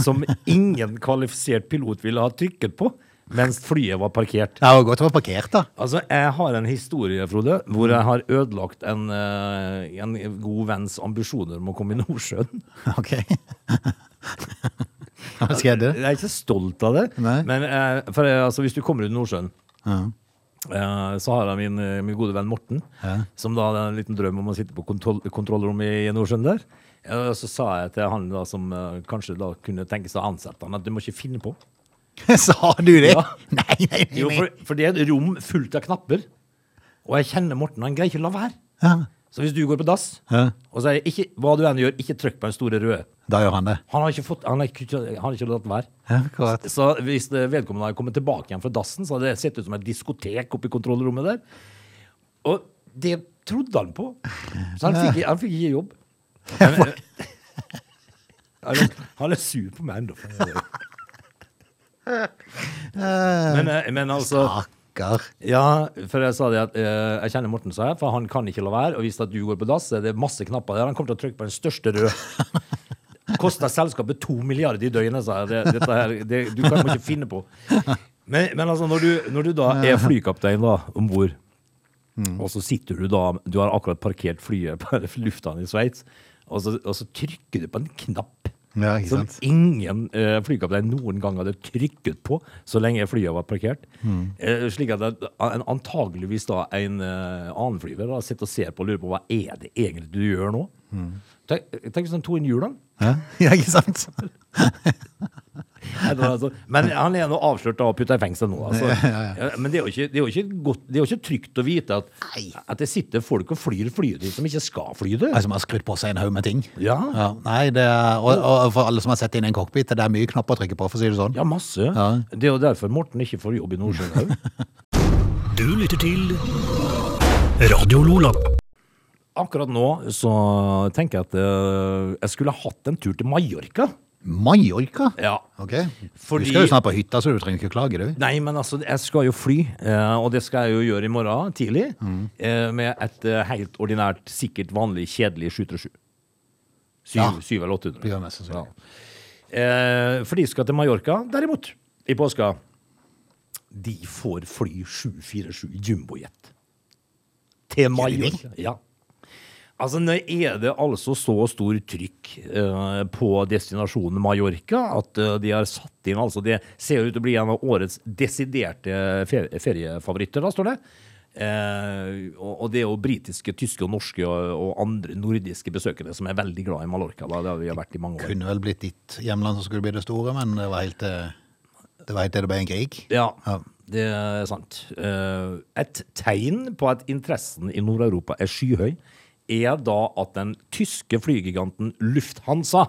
[SPEAKER 3] som ingen kvalifisert pilot ville ha trykket på, mens flyet var parkert.
[SPEAKER 1] Det var godt å være parkert, da.
[SPEAKER 3] Altså, jeg har en historie, Frode, hvor jeg har ødelagt en, eh, en god venns ambisjoner om å komme i Nordsjøen.
[SPEAKER 1] Ok. Hva skjedde?
[SPEAKER 3] Jeg er ikke stolt av det,
[SPEAKER 1] Nei.
[SPEAKER 3] men eh, for, eh, altså, hvis du kommer ut i Nordsjøen, eh, så har jeg min, eh, min gode venn Morten, som da hadde en liten drøm om å sitte på kontroll kontrollrommet i Nordsjøen der. Eh, Så sa jeg til han da, som eh, kanskje da kunne tenke seg å ansette han, at du må ikke finne på.
[SPEAKER 1] Sa du det?
[SPEAKER 3] Ja.
[SPEAKER 1] Nei, nei, nei.
[SPEAKER 3] Jo, for, for det er et rom fullt av knapper, og jeg kjenner Morten, han greier ikke å la være.
[SPEAKER 1] Ja.
[SPEAKER 3] Så hvis du går på dass
[SPEAKER 1] Ja.
[SPEAKER 3] og sier ikke, hva du enn gjør, ikke trykk på den store røde.
[SPEAKER 1] Da gjør han det.
[SPEAKER 3] Han har ikke, fått, han har ikke, han har ikke latt være.
[SPEAKER 1] Ja, Akkurat.
[SPEAKER 3] Så hvis det- vedkommende hadde kommet tilbake igjen fra dassen, så hadde det sett ut som et diskotek oppe i kontrollrommet der. Og det trodde han på. Så han fikk, han fikk ikke jobb. Men, eh, han, er, han er sur på meg ennå. Men, eh, men altså
[SPEAKER 1] Akker.
[SPEAKER 3] ja, for jeg sa det at eh, jeg kjenner Morten, sa jeg, for han kan ikke la være. Og hvis at du går på dass, så er det masse knapper der. Han kommer til å trykke på den største røde. Kosta selskapet to milliarder i døgnet, sa jeg. Det, dette her, det, du kan må ikke finne på. Men, men altså, når du, når du da er flykaptein da, om bord, og så sitter du da Du har akkurat parkert flyet på lufthavnen i Sveits, og, så- og så trykker du på en knapp.
[SPEAKER 1] Ja, ikke
[SPEAKER 3] Som
[SPEAKER 1] sant.
[SPEAKER 3] ingen eh, flykaptein noen gang hadde trykket på så lenge flyet var parkert. Eh, slik at det- an- antageligvis da en eh, annen flyver da, sitter og ser på og lurer på hva er det egentlig du gjør nå. Tenk, tenk hvis han tok inn hjulene.
[SPEAKER 1] Ja, Ja, ikke sant?
[SPEAKER 3] Nei, det var Altså, men han er nå avslørt da og putta i fengsel nå. Altså. Ja, Men det er jo ikke, det er jo ikke, godt, det er jo ikke trygt å vite at, at det sitter folk og flyr flyet ditt som ikke skal fly det.
[SPEAKER 1] En som Altså, har skrudd på seg en haug med ting.
[SPEAKER 3] Ja.
[SPEAKER 1] nei, det er, og, og for alle som har sett inn i en cockpit, det er mye knapper å trykke på, for å si det sånn.
[SPEAKER 3] Ja, masse. Det er jo derfor Morten ikke får jobb i Nordsjøen òg.
[SPEAKER 2] Du lytter til Radio Lola.
[SPEAKER 3] Akkurat nå så tenker jeg at eh, jeg skulle hatt en tur til Mallorca.
[SPEAKER 1] Mallorca?
[SPEAKER 3] Ja.
[SPEAKER 1] Ok.
[SPEAKER 3] Fordi-
[SPEAKER 1] Du skal jo snart på hytta, så du trenger ikke klage, du.
[SPEAKER 3] Nei, men altså, jeg skal jo fly, eh, og det skal jeg jo gjøre i morgen tidlig.
[SPEAKER 1] Mm.
[SPEAKER 3] eh, Med et eh, helt ordinært, sikkert vanlig, kjedelig 737. Syv,
[SPEAKER 1] Ja.
[SPEAKER 3] syv eller 800.
[SPEAKER 1] Det gjør mest sannsynlig.
[SPEAKER 3] Eh, For de skal til Mallorca, derimot, i påska. De får fly 747 jumbojet. Til Mallorca. Ja. Altså, nå er det altså så stor trykk eh, på destinasjonen Mallorca at eh, de har satt inn altså, Det ser ut til å bli en av årets desiderte fe- feriefavoritter, da, står det. Eh, og, og det er jo britiske, tyske og norske og, og andre nordiske besøkende som er veldig glad i Mallorca. Da, der vi har vært i mange år.
[SPEAKER 1] Kunne vel blitt ditt hjemland som skulle bli det store, men det var helt eh, det var helt til det ble en krig.
[SPEAKER 3] Ja,
[SPEAKER 1] Ja.
[SPEAKER 3] det er sant. Eh, Et tegn på at interessen i Nord-Europa er skyhøy, er da at den tyske flygiganten Lufthansa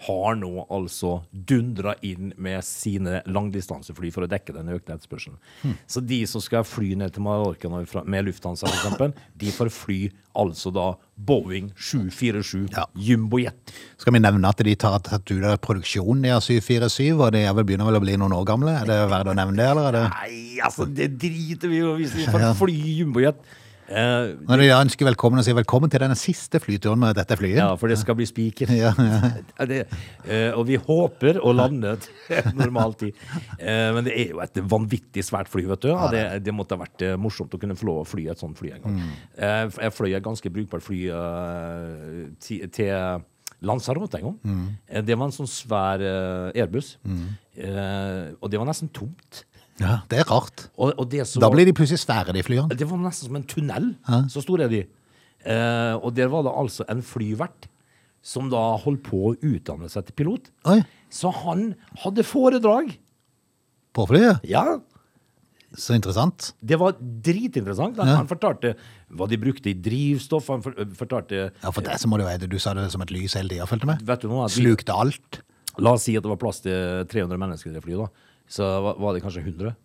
[SPEAKER 3] har nå altså dundra inn med sine langdistansefly for å dekke den økte etterspørselen.
[SPEAKER 1] Hm.
[SPEAKER 3] Så de som skal fly ned til Mallorca nå fra- med Lufthansa, for eksempel, de får fly altså da Boeing 747
[SPEAKER 1] Ja.
[SPEAKER 3] jumbojet.
[SPEAKER 1] Skal vi nevne at de tar tatt ut av produksjonen de har 747, og de er vel begynner vel å bli noen år gamle? Er det verdt å nevne det, eller? Er det?
[SPEAKER 3] Nei, altså, det driter vi jo hvis vi
[SPEAKER 1] Ja.
[SPEAKER 3] får fly jumbojet. Eh,
[SPEAKER 1] Når de da ønsker velkommen og sier velkommen til denne siste flyturen med dette flyet.
[SPEAKER 3] Ja, for det skal bli spiker.
[SPEAKER 1] Ja,
[SPEAKER 3] Ja, det- eh, og vi håper å lande til normal tid. Eh, Men det er jo et vanvittig svært fly, vet du. Og det, det måtte ha vært eh, morsomt å kunne få lov å fly et sånt fly en gang. Eh, f- Jeg fløy et ganske brukbart fly eh, ti- til Lanzarote en gang. Eh, Det var en sånn svær eh, Airbus. Eh, Og det var nesten tomt.
[SPEAKER 1] Ja, det er rart.
[SPEAKER 3] Og, og det som
[SPEAKER 1] Da
[SPEAKER 3] var-
[SPEAKER 1] blir de plutselig svære, de flyene.
[SPEAKER 3] det var nesten som en tunnel. Så store er de. Eh, og der var det altså en flyvert som da holdt på å utdanne seg til pilot.
[SPEAKER 1] Oi.
[SPEAKER 3] Så han hadde foredrag
[SPEAKER 1] på flyet.
[SPEAKER 3] Ja,
[SPEAKER 1] Så interessant.
[SPEAKER 3] Det var dritinteressant. Han, han fortalte hva de brukte i drivstoff. Han for, øh, fortalte
[SPEAKER 1] Ja, for det så må det være det. Du sa det som et lys hele tida, følte jeg
[SPEAKER 3] Vet
[SPEAKER 1] med.
[SPEAKER 3] du noe? At vi,
[SPEAKER 1] Slukte alt.
[SPEAKER 3] la oss si at det var plass til 300 mennesker i det flyet. da. Så var- var det kanskje 100.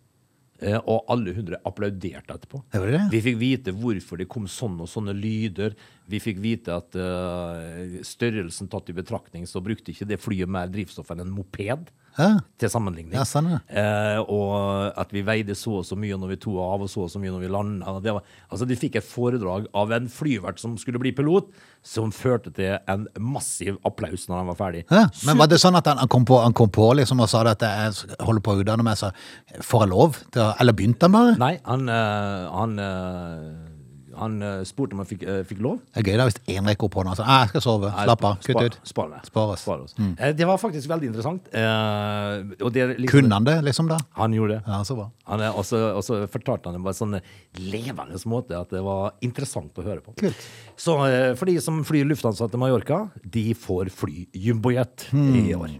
[SPEAKER 3] Eh, og alle 100 applauderte etterpå.
[SPEAKER 1] Gjorde de det?
[SPEAKER 3] Vi fikk vite hvorfor det kom sånn og sånne lyder. Vi fikk vite at eh, størrelsen tatt i betraktning, så brukte ikke det flyet mer drivstoff enn en moped.
[SPEAKER 1] Hæ?
[SPEAKER 3] Til sammenligning.
[SPEAKER 1] Ja, sånn, ja.
[SPEAKER 3] Eh, og at vi veide så og så mye når vi tok av, og så og så mye når vi landa. Det var, altså, de fikk et foredrag av en flyvert som skulle bli pilot, som førte til en massiv applaus når han var ferdig.
[SPEAKER 1] Hæ? Men var det sånn at han, han, kom, på, han kom på liksom og sa det at jeg holder på å utdanne meg, så får jeg lov? Til å, eller begynte han bare?
[SPEAKER 3] Nei, han, eh, han, eh, han eh, spurte om han fikk, eh, fikk lov.
[SPEAKER 1] Det er gøy da hvis én rekker opp hånda og sier «Nei, 'jeg skal sove',
[SPEAKER 3] Nei,
[SPEAKER 1] slapp av,
[SPEAKER 3] spa-
[SPEAKER 1] kutt ut.
[SPEAKER 3] Spar meg.
[SPEAKER 1] Spar oss. Mm.
[SPEAKER 3] Spar oss. Eh, Det var faktisk veldig interessant. eh, og det, er liksom,
[SPEAKER 1] Kunne han det, liksom, da?
[SPEAKER 3] Han gjorde det.
[SPEAKER 1] Ja, så bra.
[SPEAKER 3] Han er også, også fortalte han det på en sånn levende måte at det var interessant å høre på.
[SPEAKER 1] Kult.
[SPEAKER 3] Så eh, for de som flyr Lufthansa til Mallorca, de får fly jumbojet i
[SPEAKER 1] Hmm.
[SPEAKER 3] år.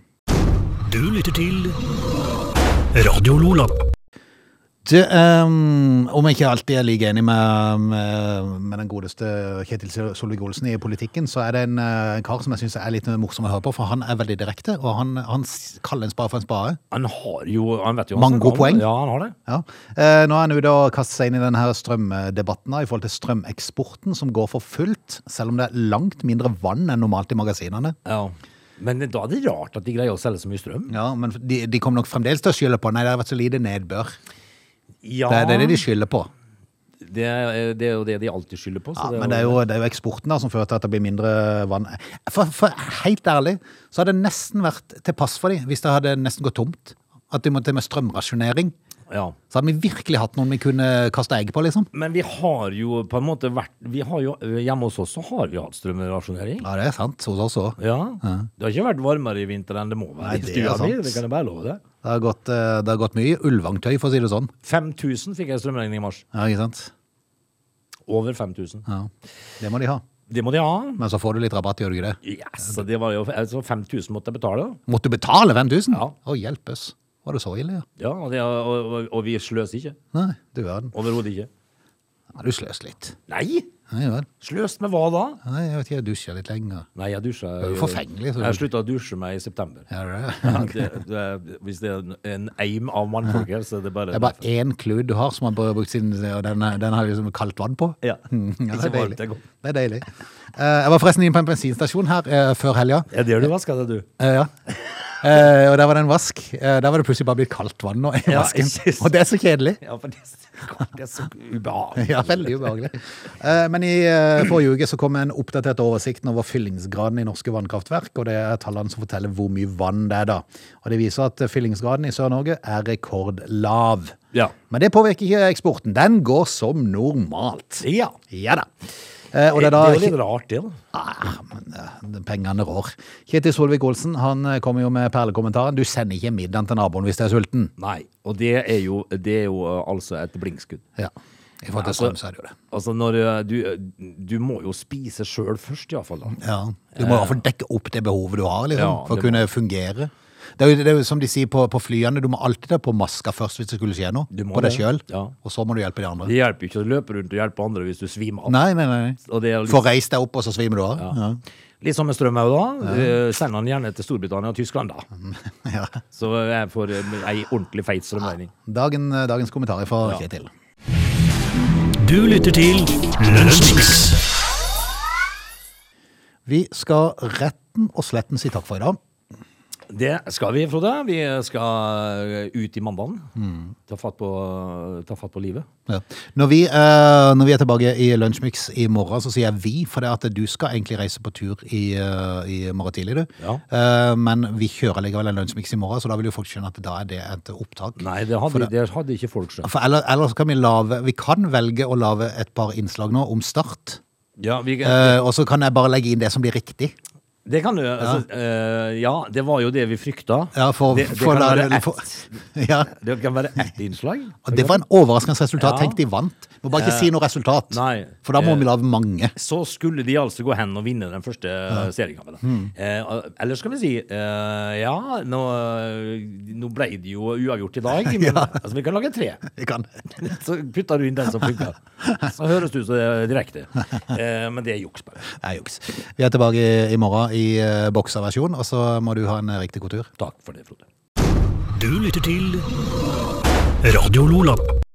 [SPEAKER 2] Du lytter til Radio Lola.
[SPEAKER 1] Du, ehm, om jeg ikke alltid er like enig med, med, med den godeste Kjetil Solvik-Olsen i politikken, så er det en, eh, en kar som jeg syns er litt morsom å høre på, for han er veldig direkte, og han, han s- kaller en spade for en spade.
[SPEAKER 3] Han har jo han vet jo
[SPEAKER 1] Mange
[SPEAKER 3] han
[SPEAKER 1] gode
[SPEAKER 3] kan.
[SPEAKER 1] poeng.
[SPEAKER 3] Ja, han har det.
[SPEAKER 1] Ja. Eh, nå er han ute og kaster seg inn i denne her strømdebatten da, i forhold til strømeksporten, som går for fullt, selv om det er langt mindre vann enn normalt i magasinene.
[SPEAKER 3] Ja. Men da er det rart at de greier å selge så mye strøm.
[SPEAKER 1] Ja, men de, de kommer nok fremdeles til å skylde på Nei, det har vært så lite nedbør.
[SPEAKER 3] Ja,
[SPEAKER 1] Det, er- det er det de skylder på.
[SPEAKER 3] det er- eh, det er jo det de alltid skylder på.
[SPEAKER 1] Ja, men det er, jo, det er jo eksporten da, som fører til at det blir mindre vann. For, for helt ærlig, så hadde det nesten vært til pass for dem hvis det hadde nesten gått tomt. At de måtte med strømrasjonering.
[SPEAKER 3] ja.
[SPEAKER 1] Så hadde vi virkelig hatt noen vi kunne kaste egg på, liksom.
[SPEAKER 3] Men vi har jo på en måte vært vi har jo, eh, Hjemme hos oss så har vi hatt strømrasjonering.
[SPEAKER 1] Ja, det er sant. Hos oss òg.
[SPEAKER 3] Ja. Det har ikke vært varmere i vinter enn det må være
[SPEAKER 1] Nei,
[SPEAKER 3] i
[SPEAKER 1] det er
[SPEAKER 3] stua mi.
[SPEAKER 1] sant.
[SPEAKER 3] Det kan jeg bare love deg.
[SPEAKER 1] Det har gått, eh, det har gått mye ulvangtøy, for å si det sånn.
[SPEAKER 3] 5000 fikk jeg strømregning i mars.
[SPEAKER 1] Ja, ikke sant?
[SPEAKER 3] Over 5000.
[SPEAKER 1] Ja. Det må de ha.
[SPEAKER 3] Det må de ha.
[SPEAKER 1] Men så får du litt rabatt, gjør du ikke det?
[SPEAKER 3] Yes, så det var jo, altså 5000 måtte jeg betale. da.
[SPEAKER 1] Måtte du betale 5000?
[SPEAKER 3] Ja.
[SPEAKER 1] Å, hjelpes. Var det så ille, ja?
[SPEAKER 3] Ja, og, det, og, og, og vi sløser ikke.
[SPEAKER 1] Nei, du verden.
[SPEAKER 3] Overhodet ikke.
[SPEAKER 1] Ja, du sløste litt.
[SPEAKER 3] Nei!
[SPEAKER 1] Nei, vel.
[SPEAKER 3] Sløst med hva da?
[SPEAKER 1] Nei, jeg vet ikke, jeg dusja litt lenger.
[SPEAKER 3] Nei, jeg dusja
[SPEAKER 1] Det er jo forfengelig, så-
[SPEAKER 3] Jeg slutta å dusje meg i september.
[SPEAKER 1] Ja, det er det.
[SPEAKER 3] Ja, det, det, er- hvis det er en- en eim av mannfolk her, så er det bare
[SPEAKER 1] Det er bare én klud du har som har brukt siden, og den, er- den har liksom kaldt vann på.
[SPEAKER 3] Ja.
[SPEAKER 1] Mm, ja, det,
[SPEAKER 3] Ikke
[SPEAKER 1] er
[SPEAKER 3] varmt,
[SPEAKER 1] deilig.
[SPEAKER 3] det er godt.
[SPEAKER 1] det er deilig. Eh, jeg var forresten inne på en bensinstasjon her eh, før helga.
[SPEAKER 3] Ja, det gjør du. Vaska det, du.
[SPEAKER 1] Eh, ja. Eh, og der var det en vask. Eh, der var det plutselig bare blitt kaldt vann nå i
[SPEAKER 3] Ja,
[SPEAKER 1] vasken.
[SPEAKER 3] jeg synes-
[SPEAKER 1] Og det er så kjedelig.
[SPEAKER 3] Ja, for det, det er så ubehagelig.
[SPEAKER 1] Ja, veldig ubehagelig. Eh, men i eh, forrige uke så kom en oppdatert oversikt over fyllingsgraden i norske vannkraftverk, og det er tallene som forteller hvor mye vann det er da. Og det viser at eh, fyllingsgraden i Sør-Norge er rekordlav.
[SPEAKER 3] Ja.
[SPEAKER 1] Men det påvirker ikke eksporten. Den går som normalt.
[SPEAKER 3] Ja.
[SPEAKER 1] Ja da. Eh, og det
[SPEAKER 3] Det er,
[SPEAKER 1] er da
[SPEAKER 3] jo litt rart, det. da.
[SPEAKER 1] Ah, men, eh, pengene rår. Kjetil Solvik-Olsen han eh, kommer jo med perlekommentaren. Du sender ikke middagen til naboen hvis du er sulten.
[SPEAKER 3] Nei. Og det er jo, det er jo eh, altså et blinkskudd.
[SPEAKER 1] Ja. I forhold til
[SPEAKER 3] Altså-
[SPEAKER 1] strøm, så er det jo det.
[SPEAKER 3] Altså når eh, du, du må jo spise sjøl først, iallfall.
[SPEAKER 1] Ja. Du må i hvert fall dekke opp det behovet du har liksom,
[SPEAKER 3] Ja,
[SPEAKER 1] for
[SPEAKER 3] det
[SPEAKER 1] å kunne fungere. Det er, jo, det er jo som de sier på, på flyene, du må alltid ta på maska først hvis det skulle skje noe.
[SPEAKER 3] Du må
[SPEAKER 1] På deg
[SPEAKER 3] det,
[SPEAKER 1] sjøl.
[SPEAKER 3] ja.
[SPEAKER 1] Og så må du hjelpe de andre.
[SPEAKER 3] Det hjelper jo ikke å løpe rundt og hjelpe andre hvis du svimer av.
[SPEAKER 1] Nei, nei, nei.
[SPEAKER 3] Og det er litt-
[SPEAKER 1] Få reist deg opp, og så svimer du av. Ja.
[SPEAKER 3] Litt som med strøm òg, da. Eh, Send han gjerne til Storbritannia og Tyskland, da.
[SPEAKER 1] Ja.
[SPEAKER 3] Så jeg får eh, ei ordentlig feit strømregning.
[SPEAKER 1] Dagen, eh, dagens kommentar fra Kjetil.
[SPEAKER 2] Du lytter til Lunsjmix.
[SPEAKER 1] Vi skal retten og sletten si takk for i dag.
[SPEAKER 3] Det skal vi, Frode. Vi skal eh, ut i mandagen. Ta, fatt på, ta fatt på livet.
[SPEAKER 1] Ja. Når, vi, eh, når vi er tilbake i Lunsjmix i morgen, så sier jeg vi, for det at du skal egentlig reise på tur i, eh, i morgen tidlig, du.
[SPEAKER 3] Ja.
[SPEAKER 1] Eh, men vi kjører likevel en Lunsjmix i morgen, så da vil jo folk skjønne at da er det et opptak.
[SPEAKER 3] Nei, det hadde,
[SPEAKER 1] For
[SPEAKER 3] det... hadde ikke folk skjønt.
[SPEAKER 1] For ellers, ellers kan vi lave Vi kan velge å lage et par innslag nå om Start.
[SPEAKER 3] Ja, vi,
[SPEAKER 1] Eh, og så kan jeg bare legge inn det som blir riktig.
[SPEAKER 3] Det kan du. Altså, eh, ja, det var jo det vi frykta.
[SPEAKER 1] Ja, for,
[SPEAKER 3] det, det
[SPEAKER 1] for
[SPEAKER 3] kan
[SPEAKER 1] da-
[SPEAKER 3] være
[SPEAKER 1] for-
[SPEAKER 3] ett.
[SPEAKER 1] ja.
[SPEAKER 3] Det kan være ett innslag.
[SPEAKER 1] Og det var en overraskende resultat.
[SPEAKER 3] Ja. Eh,
[SPEAKER 1] Tenk, de vant. Må bare ikke si noe resultat,
[SPEAKER 3] Nei.
[SPEAKER 1] for da må
[SPEAKER 3] Eh.
[SPEAKER 1] vi lage mange.
[SPEAKER 3] Så skulle de altså gå hen og vinne den første ja. seriekampen. da.
[SPEAKER 1] Mm.
[SPEAKER 3] Eh, ellers skal vi si eh, ja, nå, nå ble det jo uavgjort i dag, men altså, vi kan lage tre.
[SPEAKER 1] Vi kan.
[SPEAKER 3] Så putter du inn den som funker. Så høres det ut som det er direkte. Eh, men det er juks, bare.
[SPEAKER 1] Nei, juks. Vi er tilbake i morgen i eh, bokserversjon, og så må du ha en eh, riktig god tur.
[SPEAKER 3] Takk for det, Frode.
[SPEAKER 2] Du lytter til Radio Lola.